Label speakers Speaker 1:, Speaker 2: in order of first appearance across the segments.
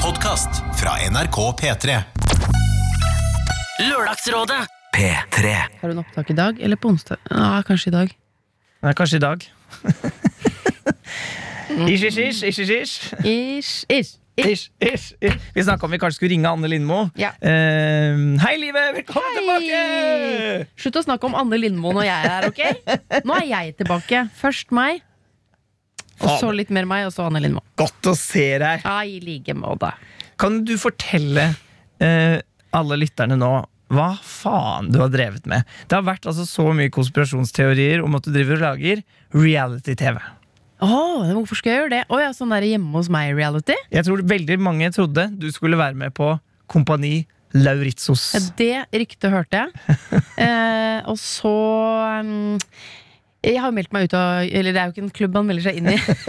Speaker 1: podkast fra NRK P3.
Speaker 2: Lørdagsrådet
Speaker 3: P3.
Speaker 4: Har hun opptak i dag, eller på onsdag? Ja, kanskje i dag.
Speaker 5: Nei, kanskje i dag. Ish, ish, ish, ish, ish,
Speaker 4: Ish, ish, ish.
Speaker 5: ish, ish, ish. Vi snakka om vi kanskje skulle ringe Anne Lindmo.
Speaker 4: Ja.
Speaker 5: Eh, hei, livet! Velkommen
Speaker 4: Hei!
Speaker 5: tilbake!
Speaker 4: Slutt å snakke om Anne Lindmo når jeg er her, ok? Nå er jeg tilbake. Først meg, og så litt mer meg, og så Anne Lindmo.
Speaker 5: Godt å se deg.
Speaker 4: Ja, i like måte.
Speaker 5: Kan du fortelle eh, alle lytterne nå hva faen du har drevet med? Det har vært altså så mye konspirasjonsteorier om at du driver og lager reality-TV.
Speaker 4: Å, men hvorfor skal jeg gjøre det? Å ja, sånn der hjemme hos meg-reality?
Speaker 5: Jeg tror veldig mange trodde du skulle være med på Kompani Lauritzos.
Speaker 4: Det ryktet hørte jeg. Eh, og så mm, Jeg har jo meldt meg ut av Eller det er jo ikke en klubb man melder seg inn i.
Speaker 5: Det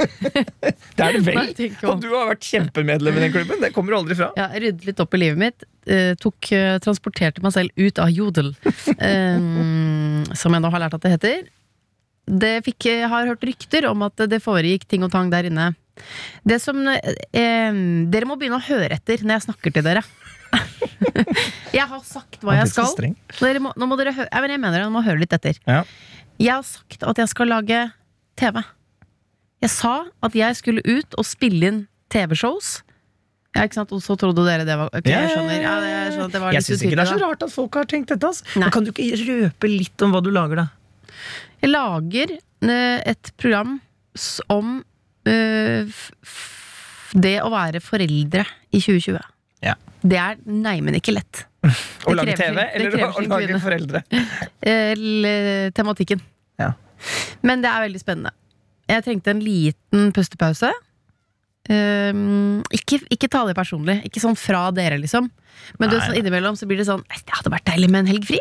Speaker 5: er
Speaker 4: Nei,
Speaker 5: det vel?
Speaker 4: tenk om.
Speaker 5: Og du har vært kjempemedlem i den klubben. Det kommer du aldri fra.
Speaker 4: Ja, ryddet litt opp i livet mitt. eh, tok, eh, transporterte meg selv ut av jodel, eh, som jeg nå har lært at det heter. Det fikk, jeg har hørt rykter om at det foregikk ting og tang der inne. Det som, eh, eh, dere må begynne å høre etter når jeg snakker til dere. jeg har sagt hva jeg skal. Dere må, nå må dere hø- Nei, men jeg mener det, nå må dere høre litt etter.
Speaker 5: Ja.
Speaker 4: Jeg har sagt at jeg skal lage TV. Jeg sa at jeg skulle ut og spille inn TV-shows. Ja, ikke sant? Og så trodde dere det var Ok, jeg skjønner. Ja, det- jeg skjønner at det var
Speaker 5: Jeg
Speaker 4: litt
Speaker 5: syns ikke det er så
Speaker 4: utydelig, da.
Speaker 5: rart at folk har tenkt dette. Altså.
Speaker 4: Nei.
Speaker 5: Men kan du ikke røpe litt om hva du lager, da?
Speaker 4: Jeg lager eh, et program s- om eh, f f det å være foreldre i 2020.
Speaker 5: Ja.
Speaker 4: Det er neimen ikke lett.
Speaker 5: Å
Speaker 4: Det
Speaker 5: lage
Speaker 4: krever
Speaker 5: TV
Speaker 4: sin- det
Speaker 5: eller
Speaker 4: krever
Speaker 5: å
Speaker 4: sin
Speaker 5: lage
Speaker 4: kvinne.
Speaker 5: foreldre?
Speaker 4: Eller tematikken.
Speaker 5: Ja.
Speaker 4: Men det er veldig spennende. Jeg trengte en liten pustepause. Ehm, ikke, ikke ta det personlig. Ikke sånn fra dere, liksom. Men du,
Speaker 5: Nei,
Speaker 4: sånn innimellom så blir det sånn «Eh, Det hadde vært deilig med en helg fri.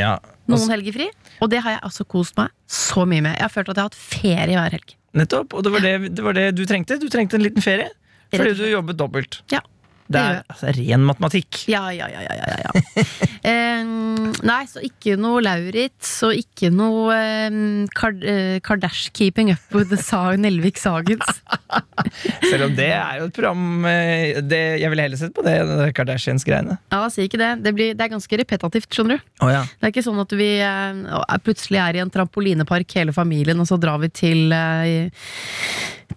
Speaker 5: Ja. altså,
Speaker 4: Noen helger fri. Og det har jeg altså kost meg så mye med. Jeg har følt at jeg har hatt ferie hver helg.
Speaker 5: Nettopp. Og det var det, det var det du trengte. Du trengte en liten ferie.
Speaker 4: Rett og
Speaker 5: Fordi du jobbet dobbelt.
Speaker 4: Ja.
Speaker 5: Det er
Speaker 4: gjør
Speaker 5: altså, ren matematikk.
Speaker 4: Ja, ja, ja, ja, ja, ja. Ehm, nei, så ikke noe Lauritz, og ikke noe um, Kard eh, Kardash keeping up with the Sa- Nelvik Sagens.
Speaker 5: Selv om det er jo et program eh, det, Jeg ville heller sett på det enn det Kardashians-greiene.
Speaker 4: Ja, si ikke det. Det, blir, det er ganske repetativt, skjønner du.
Speaker 5: Oh, ja.
Speaker 4: Det er ikke sånn at vi eh, er- plutselig er i en trampolinepark hele familien, og så drar vi til eh,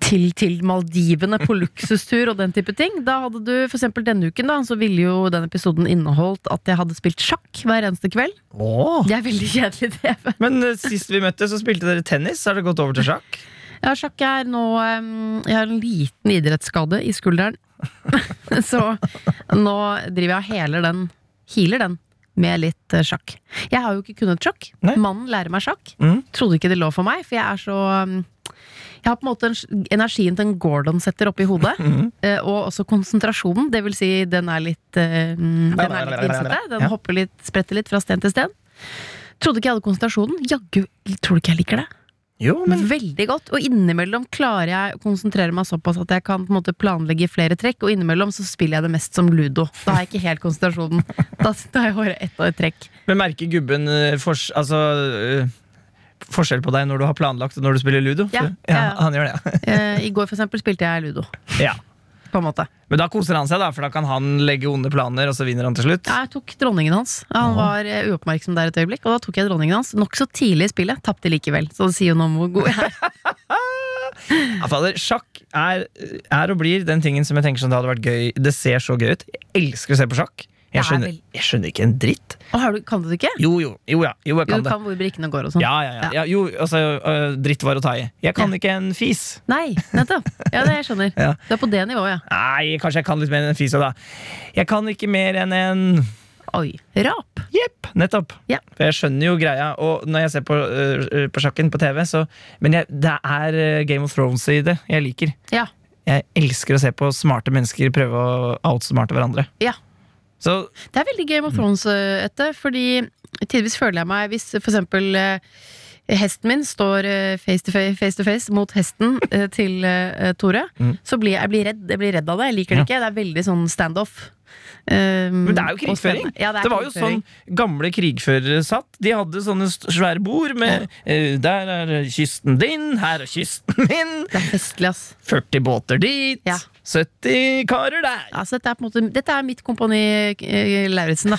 Speaker 4: til, til Maldivene på luksustur og den type ting. Da hadde du for eksempel denne uken, da, så ville jo den episoden inneholdt at jeg hadde spilt sjakk hver eneste kveld.
Speaker 5: Åh.
Speaker 4: Det er veldig kjedelig TV.
Speaker 5: Men eh, sist vi møttes, så spilte dere tennis. Har det gått over til sjakk?
Speaker 4: Ja, sjakk er nå eh, Jeg har en liten idrettsskade i skulderen. Så nå driver jeg og heler den. Healer den med litt eh, sjakk. Jeg har jo ikke kunnet sjakk.
Speaker 5: Nei.
Speaker 4: Mannen lærer meg sjakk.
Speaker 5: Mm.
Speaker 4: Trodde ikke det lå for meg, for jeg er så um, Jeg har på en måte en, s- energien til en Gordon setter oppi hodet.
Speaker 5: Mhm.
Speaker 4: eh, Og også konsentrasjonen. Det vil si, den er litt eh, mm, Den er litt vimsete. Den
Speaker 5: Ja.
Speaker 4: hopper litt, spretter litt fra sten til sten. Trodde ikke jeg hadde konsentrasjonen. Jaggu tror du ikke jeg liker det.
Speaker 5: Jo, men
Speaker 4: Veldig godt. Og innimellom klarer jeg å konsentrere meg såpass at jeg kan på en måte planlegge flere trekk, og innimellom så spiller jeg det mest som ludo. Da har jeg ikke helt konsentrasjonen. Da, da har jeg bare ett og ett trekk.
Speaker 5: Men merker gubben eh, fors altså, eh, forskjell på deg når du har planlagt og når du spiller ludo?
Speaker 4: Ja,
Speaker 5: For-
Speaker 4: ja, ja.
Speaker 5: Han gjør det,
Speaker 4: Eh, I går, for eksempel, spilte jeg ludo.
Speaker 5: ja.
Speaker 4: På en måte.
Speaker 5: Men da koser han seg, da, for da kan han legge onde planer, og så vinner han til slutt.
Speaker 4: Ja, Jeg tok dronningen hans. Han var eh, uoppmerksom der et øyeblikk, og da tok jeg dronningen hans. Nokså tidlig i spillet. Tapte likevel. Så det sier jo noe om hvor god jeg er.
Speaker 5: Ja, fader, sjakk er, er og blir den tingen som jeg tenker sånn, det hadde vært gøy Det ser så gøy ut. Jeg elsker å se på sjakk.
Speaker 4: Det er
Speaker 5: Jeg skjønner,
Speaker 4: vel-
Speaker 5: jeg skjønner ikke en dritt.
Speaker 4: Og har du, kan du det ikke?
Speaker 5: Jo, jo, jo, ja, jo jeg
Speaker 4: Jo,
Speaker 5: kan
Speaker 4: du
Speaker 5: det.
Speaker 4: kan hvor brikkene går og sånn.
Speaker 5: Ja, ja, ja, ja. Jo, altså, øh, dritt var å ta i. Jeg kan
Speaker 4: Ja.
Speaker 5: ikke en fis.
Speaker 4: Nei, nettopp. Ja, det jeg skjønner.
Speaker 5: Ja.
Speaker 4: Du er på det nivået, ja.
Speaker 5: Nei, kanskje jeg kan litt mer enn en fis. Da. Jeg kan ikke mer enn en
Speaker 4: Oi. Rap.
Speaker 5: Jepp, nettopp.
Speaker 4: Ja.
Speaker 5: For jeg skjønner jo greia. Og når jeg ser på, øh, øh, på sjakken på TV, så Men jeg, det er øh, Game of Thrones i det jeg liker.
Speaker 4: Ja.
Speaker 5: Jeg elsker å se på smarte mennesker prøve å outsmarte hverandre.
Speaker 4: ja.
Speaker 5: Så
Speaker 4: Det er veldig Game of Thrones
Speaker 5: Mm.
Speaker 4: eh, etter, fordi tidvis føler jeg meg Hvis eh, for eksempel eh, hesten min står eh, face to face, face, to face mot hesten eh, til eh, Tore,
Speaker 5: Mm.
Speaker 4: så blir jeg, jeg blir redd, jeg blir redd av det. Jeg liker det
Speaker 5: Ja.
Speaker 4: ikke. Det er veldig sånn standoff. Um,
Speaker 5: Men det er jo
Speaker 4: og
Speaker 5: krigføring.
Speaker 4: spennende. Ja, det, er
Speaker 5: det var jo sånn
Speaker 4: krigføring.
Speaker 5: gamle krigførere satt. De hadde sånne st- svære bord med øh, Der er kysten din, her er kysten min,
Speaker 4: Det er festlig, ass.
Speaker 5: 40 båter dit.
Speaker 4: Ja.
Speaker 5: 70 karer der!
Speaker 4: Altså, dette, er på en måte, dette er mitt kompani eh, Lauritzen, da.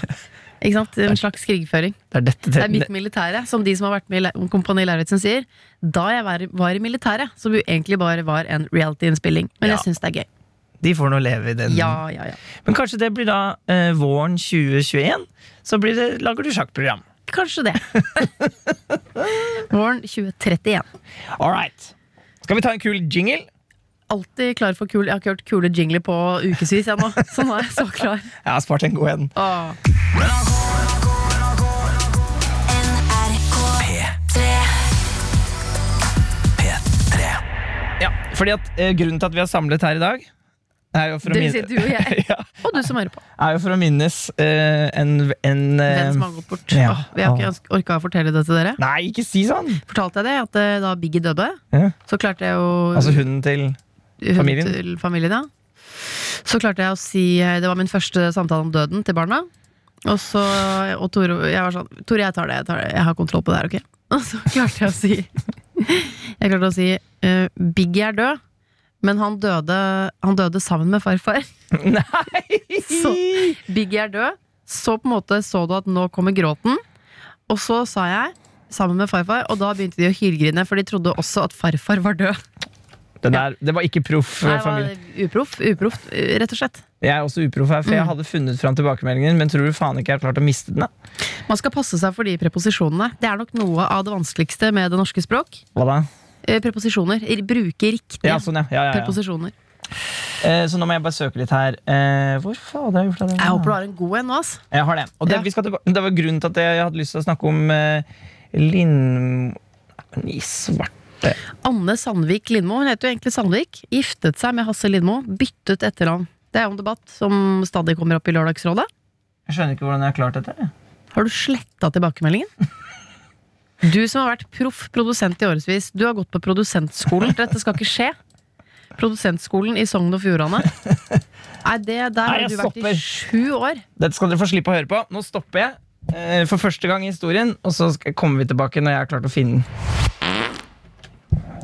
Speaker 4: Ikke sant? En slags krigføring.
Speaker 5: Det er dette
Speaker 4: Det er mitt militære, som de som har vært med i Lau- Kompani Lauritzen sier. Da jeg var, var i militæret, som jo egentlig bare var en reality-innspilling. Men
Speaker 5: Ja. Mm.
Speaker 4: jeg syns det er gøy.
Speaker 5: De får nå leve i den.
Speaker 4: Ja, ja, ja.
Speaker 5: Men kanskje det blir da eh, våren 2021? Så blir det, lager du sjakkprogram.
Speaker 4: Kanskje det. Våren 2031.
Speaker 5: All right. Skal vi ta en kul jingle?
Speaker 4: Alltid klar for kul. Jeg har ikke hørt kule jingler på ukevis, jeg nå. Så nå er jeg så klar.
Speaker 5: Jeg har spart en god en.
Speaker 4: Åh.
Speaker 5: Ja, fordi at eh, Grunnen til at vi har samlet her i dag, er jo for å
Speaker 4: Det vil si
Speaker 5: minne-
Speaker 4: du og jeg.
Speaker 5: ja,
Speaker 4: Og du som hører på.
Speaker 5: er jo for å minnes eh, en, en eh,
Speaker 4: Venn som har gått bort.
Speaker 5: ja.
Speaker 4: Åh, Vi har ikke ønsk- orka å fortelle det til dere.
Speaker 5: Nei, ikke si sånn!
Speaker 4: Fortalte jeg det at eh, da Biggie døde,
Speaker 5: Ja.
Speaker 4: så klarte jeg å
Speaker 5: Altså hunden til
Speaker 4: hun
Speaker 5: familien?
Speaker 4: Til familien ja. Så klarte jeg å si eh, Det var min første samtale om døden til barna. Og så Og Tore Jeg var sånn Tore, jeg tar det. Jeg, tar det. jeg har kontroll på det her, ok? Og så klarte jeg å si Jeg klarte å si eh, Biggie er død, men han døde, han døde sammen med farfar.
Speaker 5: Nei!
Speaker 4: Så- Biggie er død. Så på en måte så du at nå kommer gråten. Og så sa jeg, sammen med farfar, og da begynte de å hylgrine, for de trodde også at farfar var død.
Speaker 5: Det, der, det var ikke proff
Speaker 4: Nei,
Speaker 5: eh,
Speaker 4: det
Speaker 5: familie.
Speaker 4: var uproff, uproff, eh, rett og slett.
Speaker 5: Jeg er også uproff her, for jeg
Speaker 4: Mm.
Speaker 5: hadde funnet fram tilbakemeldingen, men tror du faen ikke jeg har klart å miste den? da?
Speaker 4: Man skal passe seg for de preposisjonene. Det er nok noe av det vanskeligste med det norske språk.
Speaker 5: Hva da?
Speaker 4: Eh, Preposisjoner. R- Bruke riktige
Speaker 5: Ja, sånn, ja. ja, ja, ja.
Speaker 4: preposisjoner.
Speaker 5: Eh, så nå må jeg bare søke litt her. Eh, hvor fader har jeg gjort av det?
Speaker 4: Jeg håper du har en god en nå, ass.
Speaker 5: Jeg har det. Og
Speaker 4: Ja.
Speaker 5: det, vi skal tilba- det var grunnen til at jeg hadde lyst til å snakke om eh, Lind... Nei, men I svarte
Speaker 4: Anne Sandvik Lindmo, hun heter jo egentlig Sandvik, giftet seg med Hasse Lindmo, byttet etternavn. Det er jo en debatt som stadig kommer opp i Lørdagsrådet.
Speaker 5: Jeg skjønner ikke hvordan jeg har klart dette. jeg.
Speaker 4: Har du sletta tilbakemeldingen? Du som har vært proff produsent i årevis, du har gått på produsentskolen. Dette skal ikke skje. Produsentskolen i Sogn og Fjordane. Nei, det der
Speaker 5: Nei,
Speaker 4: har
Speaker 5: jeg
Speaker 4: du vært
Speaker 5: stopper.
Speaker 4: i sju år.
Speaker 5: Dette skal dere få slippe å høre på. Nå stopper jeg eh, for første gang i historien, og så skal- kommer vi tilbake når jeg har klart å finne den.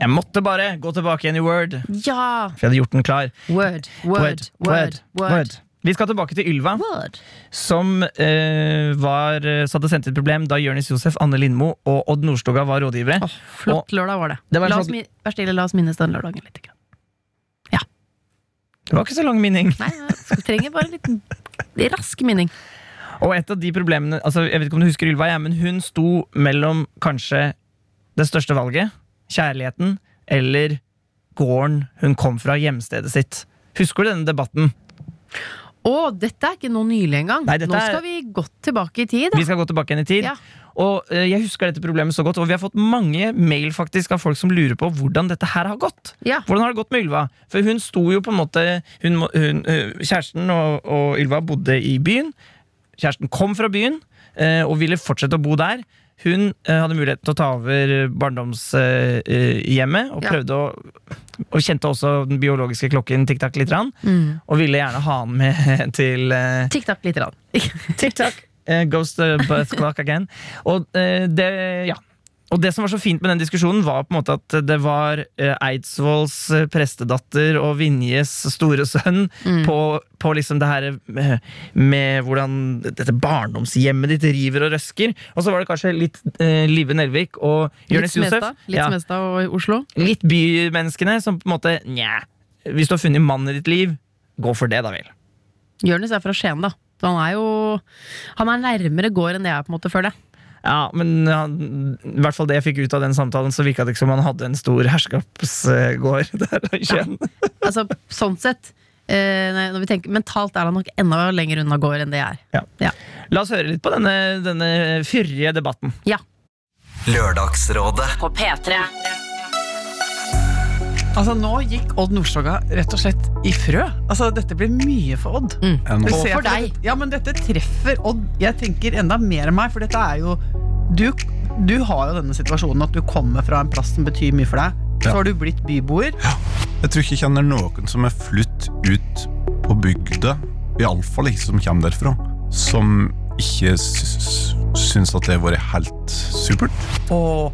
Speaker 5: Jeg måtte bare gå tilbake igjen i Word,
Speaker 4: Ja!
Speaker 5: for jeg hadde gjort den klar.
Speaker 4: Word, word, word, word.
Speaker 5: Vi skal tilbake til Ylva,
Speaker 4: Word.
Speaker 5: som eh, var, eh, så hadde sendt et problem da Jonis Josef, Anne Lindmo og Odd Nordstoga var rådgivere.
Speaker 4: Åh, flott lørdag var det.
Speaker 5: Det var en
Speaker 4: la
Speaker 5: sånn-
Speaker 4: oss,
Speaker 5: flott-
Speaker 4: min- vær stille, la oss minnes den lørdagen litt. grann.
Speaker 5: Det var ikke så lang minning.
Speaker 4: Nei, jeg trenger bare en liten rask minning.
Speaker 5: Og et av de problemene altså, Jeg vet ikke om du husker Ylva, jeg, men hun sto mellom kanskje det største valget, kjærligheten, eller gården hun kom fra, hjemstedet sitt. Husker du denne debatten?
Speaker 4: Å, dette er ikke noe nylig engang.
Speaker 5: Nei, dette
Speaker 4: Nå
Speaker 5: er-
Speaker 4: skal vi godt tilbake i tid.
Speaker 5: Vi skal gå tilbake igjen i tid.
Speaker 4: Ja.
Speaker 5: Og eh, jeg husker dette problemet så godt, og vi har fått mange mail faktisk av folk som lurer på hvordan dette her har gått.
Speaker 4: Ja.
Speaker 5: Hvordan har det gått med Ylva? For hun sto jo på en måte hun, må- hun, eh, Kjæresten og, og Ylva bodde i byen. Kjæresten kom fra byen eh, og ville fortsette å bo der. Hun eh, hadde mulighet til å ta over barndomshjemmet og
Speaker 4: Ja.
Speaker 5: prøvde å Og kjente også den biologiske klokken tikk-takk litt, grann,
Speaker 4: Mm.
Speaker 5: og ville gjerne ha han med til eh,
Speaker 4: Tikk-takk lite grann.
Speaker 5: TikTok uh, goes the birth clock again. Og, eh, det, ja. og det som var så fint med den diskusjonen, var på en måte at det var eh, Eidsvolls eh, prestedatter og Vinjes store sønn
Speaker 4: Mm.
Speaker 5: på, på liksom det her med, med hvordan dette barndomshjemmet ditt river og røsker. Og så var det kanskje litt eh, Live Nelvik og
Speaker 4: Litt
Speaker 5: Jonis Josef.
Speaker 4: Smestad, litt
Speaker 5: Ja.
Speaker 4: Smestad og Oslo.
Speaker 5: litt bymenneskene som på en måte Nja, hvis du har funnet mannen i ditt liv, gå for det, da vel.
Speaker 4: Jonis er fra Skien, da. Så han er jo Han er nærmere gård enn det jeg er, på en måte, føler jeg.
Speaker 5: Ja, men ja, i hvert fall det jeg fikk ut av den samtalen, så virka det ikke som han hadde en stor herskapsgård der i Skien.
Speaker 4: Altså, sånn sett. Eh, nei, når vi tenker, mentalt er han nok enda lenger unna gård enn det jeg er.
Speaker 5: La oss høre litt på denne, denne fyrige debatten.
Speaker 4: Ja.
Speaker 2: Lørdagsrådet.
Speaker 3: På P3.
Speaker 6: Altså Nå gikk Odd Nordstoga rett og slett i frø. Altså Dette blir mye for Odd.
Speaker 4: Mm.
Speaker 6: Du
Speaker 4: Og
Speaker 6: ser
Speaker 4: for
Speaker 6: at
Speaker 4: deg.
Speaker 6: dette- Ja, men dette treffer Odd. Jeg tenker enda mer enn meg, for dette er jo du, du har jo denne situasjonen at du kommer fra en plass som betyr mye for deg. Så
Speaker 1: Ja.
Speaker 6: har du blitt byboer.
Speaker 1: Jeg tror ikke jeg kjenner noen som er flytt ut på bygda, iallfall ikke som kommer derfra, som ikke sy- syns at det har vært helt supert.
Speaker 6: Og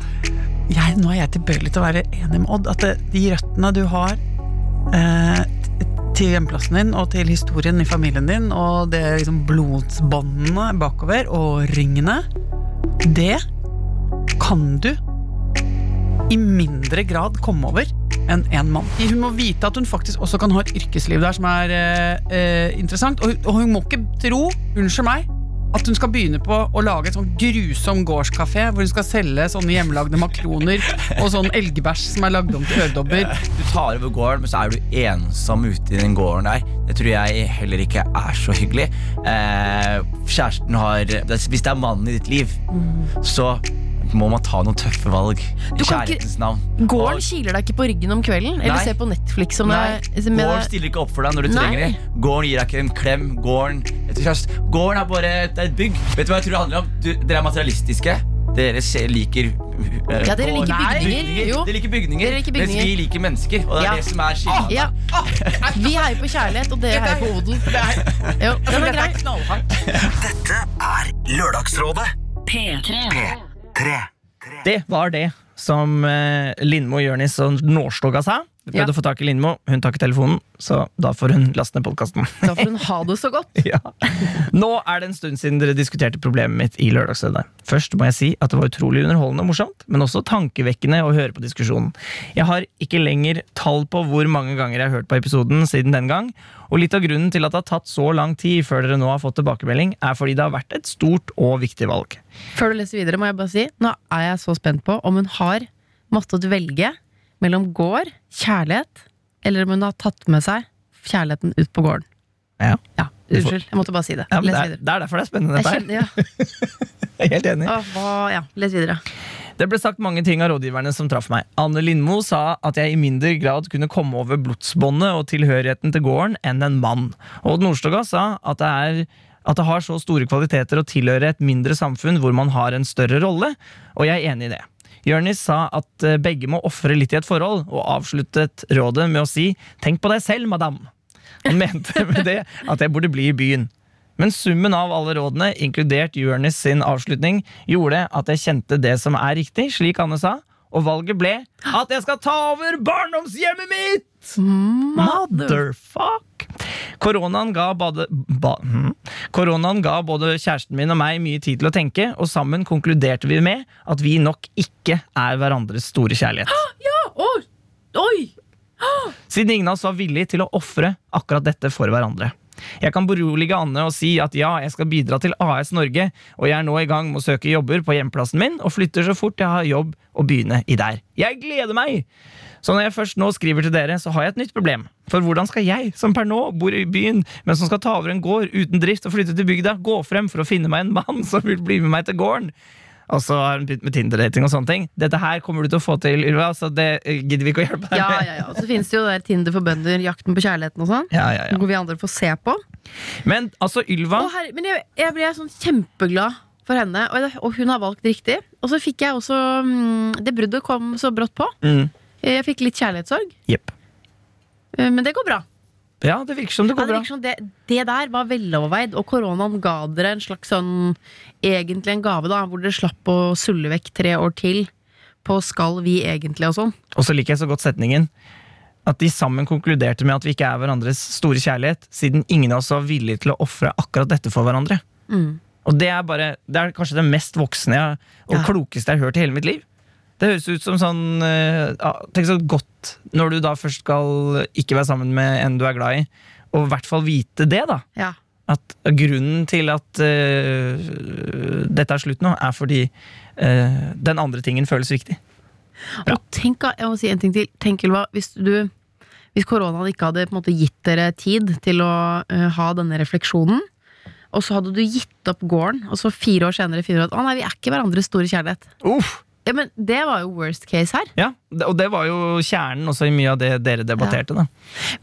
Speaker 6: jeg, nå er jeg tilbøyelig til å være enig med Odd. At det, de røttene du har eh, t- til hjemplassen din og til historien i familien din og det liksom blodsbåndene bakover og ringene, det kan du i mindre grad komme over enn en mann. Hun må vite at hun faktisk også kan ha et yrkesliv der som er eh, eh, interessant, og, og hun må ikke tro, unnskyld meg, at hun skal begynne på å lage et sånn grusom gårdskafé hvor hun skal selge sånne hjemmelagde makroner og sånn elgebæsj som er lagd om til øredobber.
Speaker 3: Du tar over gården, men så er du ensom ute i den gården der. Det tror jeg heller ikke er så hyggelig. Eh, kjæresten har Hvis det er mannen i ditt liv, så må man ta noen tøffe valg. I
Speaker 4: Du kan ikke-
Speaker 3: kjærlighetens navn.
Speaker 4: Gården
Speaker 3: Og-
Speaker 4: kiler deg ikke på ryggen om kvelden, eller
Speaker 3: Nei.
Speaker 4: ser på Netflix som
Speaker 3: Nei,
Speaker 4: det er- med
Speaker 3: Gården
Speaker 4: det-
Speaker 3: stiller ikke opp for deg når du
Speaker 4: Nei.
Speaker 3: trenger det. Gården gir deg ikke en klem. Gården, et kjøst. gården er bare et, det er et bygg. Vet du hva jeg tror det handler om? Du, dere er materialistiske. Dere ser, liker eh,
Speaker 4: Ja, dere
Speaker 3: gården.
Speaker 4: liker
Speaker 3: Nei,
Speaker 4: bygninger. Jo.
Speaker 3: Dere liker bygninger,
Speaker 4: Dere liker bygninger.
Speaker 3: mens vi liker mennesker. Og det er
Speaker 4: Ja.
Speaker 3: det som er skilnaden.
Speaker 4: Ja. Vi heier på kjærlighet, og dere heier på odel. Jo, den er grei.
Speaker 2: Dette er Lørdagsrådet. P3.
Speaker 5: Det var det som eh, Lindmo, Jørnis og Nårstoga sa. Vi prøvde
Speaker 4: Ja.
Speaker 5: å få tak i Lindmo, hun tar ikke telefonen, så da får hun laste ned podkasten.
Speaker 4: Da får hun ha det så godt.
Speaker 5: ja. Nå er det en stund siden dere diskuterte problemet mitt i Lørdagsrevyen. Først må jeg si at det var utrolig underholdende og morsomt, men også tankevekkende å høre på diskusjonen. Jeg har ikke lenger tall på hvor mange ganger jeg har hørt på episoden siden den gang, og litt av grunnen til at det har tatt så lang tid før dere nå har fått tilbakemelding, er fordi det har vært et stort og viktig valg.
Speaker 4: Før du leser videre, må jeg bare si Nå er jeg så spent på om hun har måttet velge mellom gård, kjærlighet, eller om hun har tatt med seg kjærligheten ut på gården.
Speaker 5: Ja.
Speaker 4: Ja, Unnskyld, jeg måtte bare si det.
Speaker 5: Ja, men
Speaker 4: Les
Speaker 5: det, er,
Speaker 4: videre.
Speaker 5: det er derfor det er spennende.
Speaker 4: Jeg
Speaker 5: Dette. her.
Speaker 4: kjenner, ja.
Speaker 5: Jeg er helt enig.
Speaker 4: Åh, hva- ja, les videre.
Speaker 5: Det ble sagt mange ting av rådgiverne som traff meg. Anne Lindmo sa at jeg i mindre grad kunne komme over blodsbåndet og tilhørigheten til gården enn en mann. Og Odd Nordstoga sa at det er at det har så store kvaliteter å tilhøre et mindre samfunn hvor man har en større rolle, og jeg er enig i det. Jørnis sa at eh, begge må ofre litt i et forhold, og avsluttet rådet med å si 'tenk på deg selv, madam'. Han mente med det at jeg burde bli i byen. Men summen av alle rådene, inkludert Jonis sin avslutning, gjorde at jeg kjente det som er riktig, slik Anne sa, og valget ble at jeg skal ta over barndomshjemmet mitt! Motherfuck! Koronaen ga, bade, ba, hm. Koronaen ga både kjæresten min og meg mye tid til å tenke, og sammen konkluderte vi med at vi nok ikke er hverandres store kjærlighet.
Speaker 4: Åh, oi!
Speaker 5: Siden ingen av oss var villig til å ofre akkurat dette for hverandre. Jeg kan berolige Anne og si at ja, jeg skal bidra til AS Norge, og jeg er nå i gang med å søke jobber på hjemplassen min, og flytter så fort jeg har jobb å begynne i der. Jeg gleder meg! Så når jeg først nå skriver til dere, så har jeg et nytt problem. For hvordan skal jeg, som per nå bor i byen, men som skal ta over en gård uten drift og flytte til bygda, gå frem for å finne meg en mann som vil bli med meg til gården? Og så har hun begynt med Tinder-dating og sånne ting. Dette her kommer du til å få til, Ylva, så det eh, gidder vi ikke å hjelpe deg
Speaker 4: Ja,
Speaker 5: med.
Speaker 4: ja, ja. Og så finnes det jo der Tinder for bønder, Jakten på kjærligheten og sånn.
Speaker 5: Ja, ja, ja.
Speaker 4: Hvor vi andre får se på.
Speaker 5: Men altså, Ylva
Speaker 4: Å, herre- men jeg, jeg ble sånn kjempeglad for henne, og, det- og hun har valgt riktig. Og så fikk jeg også mm, Det bruddet kom så brått på.
Speaker 5: Mm.
Speaker 4: Jeg fikk litt kjærlighetssorg,
Speaker 5: Jepp.
Speaker 4: eh, men det går bra.
Speaker 5: Ja, det virker som det
Speaker 4: Ja,
Speaker 5: går
Speaker 4: det,
Speaker 5: bra.
Speaker 4: virker som det, det der var veloverveid, og koronaen ga dere en slags sånn Egentlig en gave, da, hvor dere slapp å sulle vekk tre år til på 'skal vi egentlig' og sånn.
Speaker 5: Og så liker jeg så godt setningen. At de sammen konkluderte med at vi ikke er hverandres store kjærlighet, siden ingen av oss var villige til å ofre akkurat dette for hverandre.
Speaker 4: Mm.
Speaker 5: Og det er, bare, det er kanskje det mest voksne jeg, og
Speaker 4: Ja.
Speaker 5: klokeste jeg har hørt i hele mitt liv. Det høres ut som sånn eh, ja, Tenk så godt når du da først skal ikke være sammen med en du er glad i, og i hvert fall vite det, da.
Speaker 4: Ja.
Speaker 5: at grunnen til at øh, dette er slutt nå, er fordi øh, den andre tingen føles viktig. Bra.
Speaker 4: Og tenk, da- jeg må si en ting til. Tenk, Ylva, hvis du Hvis koronaen ikke hadde på en måte gitt dere tid til å eh, ha denne refleksjonen, og så hadde du gitt opp gården, og så fire år senere finner du at 'Å nei, vi er ikke hverandres store kjærlighet'.
Speaker 5: Uff!
Speaker 4: Ja, men Det var jo worst case her.
Speaker 5: Ja, det- og det var jo kjernen også i mye av det dere debatterte. da.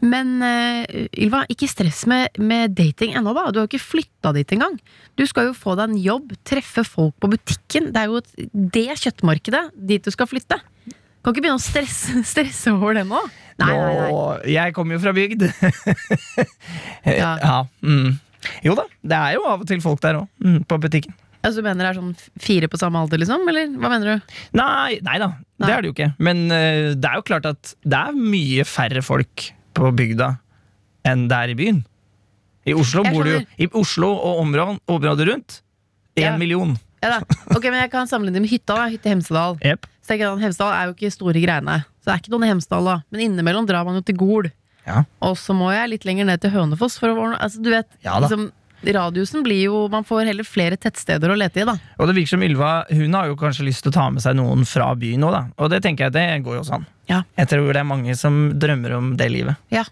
Speaker 4: Men eh, Ylva, ikke stress med, med dating ennå, da. Du har jo ikke flytta dit engang. Du skal jo få deg en jobb, treffe folk på butikken. Det er jo et- det kjøttmarkedet dit du skal flytte. Kan ikke begynne å stresse, stresse over det nå. Nei, nei, nei.
Speaker 5: Og jeg kommer jo fra bygd. ja.
Speaker 4: Ja.
Speaker 5: mm. Jo da, det er jo av og til folk der òg, mm, på butikken.
Speaker 4: Altså, du mener det er sånn f- fire på samme alder, liksom? Eller hva mener du?
Speaker 5: Nei, nei da, det
Speaker 4: Nei.
Speaker 5: er det jo eh, ikke. Men øh, det er jo klart at det er mye færre folk på bygda enn det er i byen. I Oslo
Speaker 4: Jeg
Speaker 5: bor du jo
Speaker 4: skjønner.
Speaker 5: I Oslo og området, området rundt én
Speaker 4: Ja.
Speaker 5: million.
Speaker 4: Ja, da. Ok, men jeg kan sammenligne med hytta. da, Hytte i Hemsedal.
Speaker 5: Jep.
Speaker 4: Så tenker jeg at Hemsedal er jo ikke store greiene. Så det er ikke noen i Hemsedal, da. Men innimellom drar man jo til Gol.
Speaker 5: Ja.
Speaker 4: Og så må jeg litt lenger ned til Hønefoss for å ordne altså, Du vet,
Speaker 5: Ja da.
Speaker 4: liksom, radiusen blir jo Man får heller flere tettsteder å lete i, da.
Speaker 5: Og det virker som Ylva hun har jo kanskje lyst til å ta med seg noen fra byen òg, da. Og det tenker jeg det går jo sånn.
Speaker 4: Ja.
Speaker 5: Jeg tror det er mange som drømmer om det livet.
Speaker 4: Ja.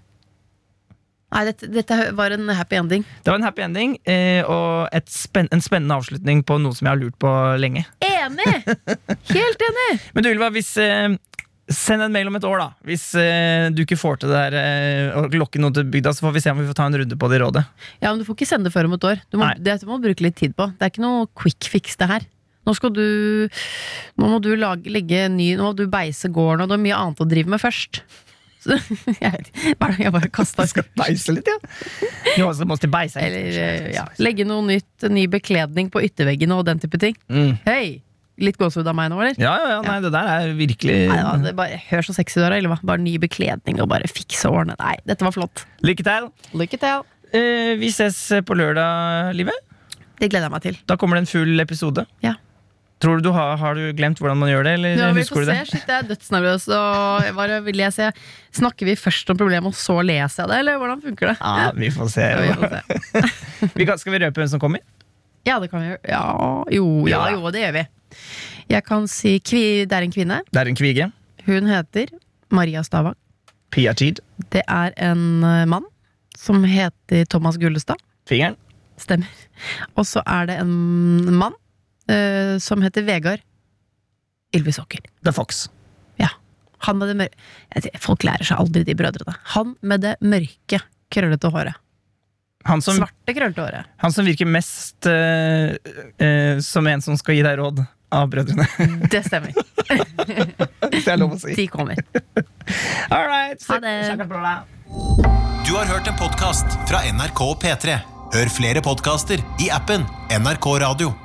Speaker 4: Nei, dette, dette var en happy ending.
Speaker 5: Det var en happy ending eh, og et spenn- en spennende avslutning på noe som jeg har lurt på lenge.
Speaker 4: Enig! Helt enig!
Speaker 5: Men du, Ylva, hvis eh, Send en mail om et år, da. Hvis eh, du ikke får til det her eh, å lokke noen til bygda, så får vi se om vi får ta en runde på det i rådet.
Speaker 4: Ja, men Du får ikke sende det før om et år. Du må,
Speaker 5: Nei.
Speaker 4: dette må du bruke litt tid på. Det er ikke noe quick fix, det her. Nå skal du Nå må du lage, legge en ny Nå må du beise gården, og det er mye annet å drive med først. Så, jeg, vet ikke, hva er det jeg bare kasta
Speaker 5: Beise litt, ja. Jo, så må vi beise litt.
Speaker 4: Eller eh, ja, legge noe nytt, ny bekledning på ytterveggene og den type ting.
Speaker 5: Mm.
Speaker 4: Hei! Litt gåsehud av meg nå, eller?
Speaker 5: Ja, ja, ja, nei, det der er virkelig
Speaker 4: Nei, ja, det er bare, hør så sexy du er, eller hva? Bare ny bekledning og bare fikse årene. Nei, dette var flott.
Speaker 5: Lykke til.
Speaker 4: Lykke til.
Speaker 5: Eh, vi ses på lørdag, Live.
Speaker 4: Det gleder jeg meg til.
Speaker 5: Da kommer det en full episode.
Speaker 4: Ja.
Speaker 5: Tror du du har, har du glemt hvordan man gjør det, eller
Speaker 4: Ja, vi
Speaker 5: husker
Speaker 4: får
Speaker 5: du det?
Speaker 4: se. Shit, jeg er dødsnervøs. Og hva er det- vil jeg se? Snakker vi først om problemet, og så leser jeg det? Eller hvordan funker det?
Speaker 5: Ja, vi får se.
Speaker 4: Ja, vi får se.
Speaker 5: Vi kan, skal vi røpe hvem som kommer?
Speaker 4: Ja, det kan vi gjøre. Ja, jo, ja,
Speaker 5: Ja.
Speaker 4: jo, det gjør vi. Jeg kan si kvi, Det er en kvinne.
Speaker 5: Det er en kvige.
Speaker 4: Hun heter Maria Stavang.
Speaker 5: Pia Tid.
Speaker 4: Det er en eh, mann som heter Thomas Gullestad.
Speaker 5: Fingeren.
Speaker 4: Stemmer. Og så er det en mann eh, som heter Vegard Ylvisåker.
Speaker 5: The Fox.
Speaker 4: Han med det mør- Jeg sier, Folk lærer seg aldri de brødrene. Han med det mørke, krøllete håret.
Speaker 5: Han som,
Speaker 4: Svarte, krøllete håret.
Speaker 5: han som virker mest eh, eh, som en som skal gi deg råd av brødrene.
Speaker 4: Det stemmer.
Speaker 5: Hvis det er lov å si.
Speaker 4: De kommer.
Speaker 5: All right.
Speaker 4: Ha det.
Speaker 5: Snakkes på lørdag.
Speaker 7: Du har hørt en podcast fra NRK P3. Hør flere podcaster i appen NRK Radio.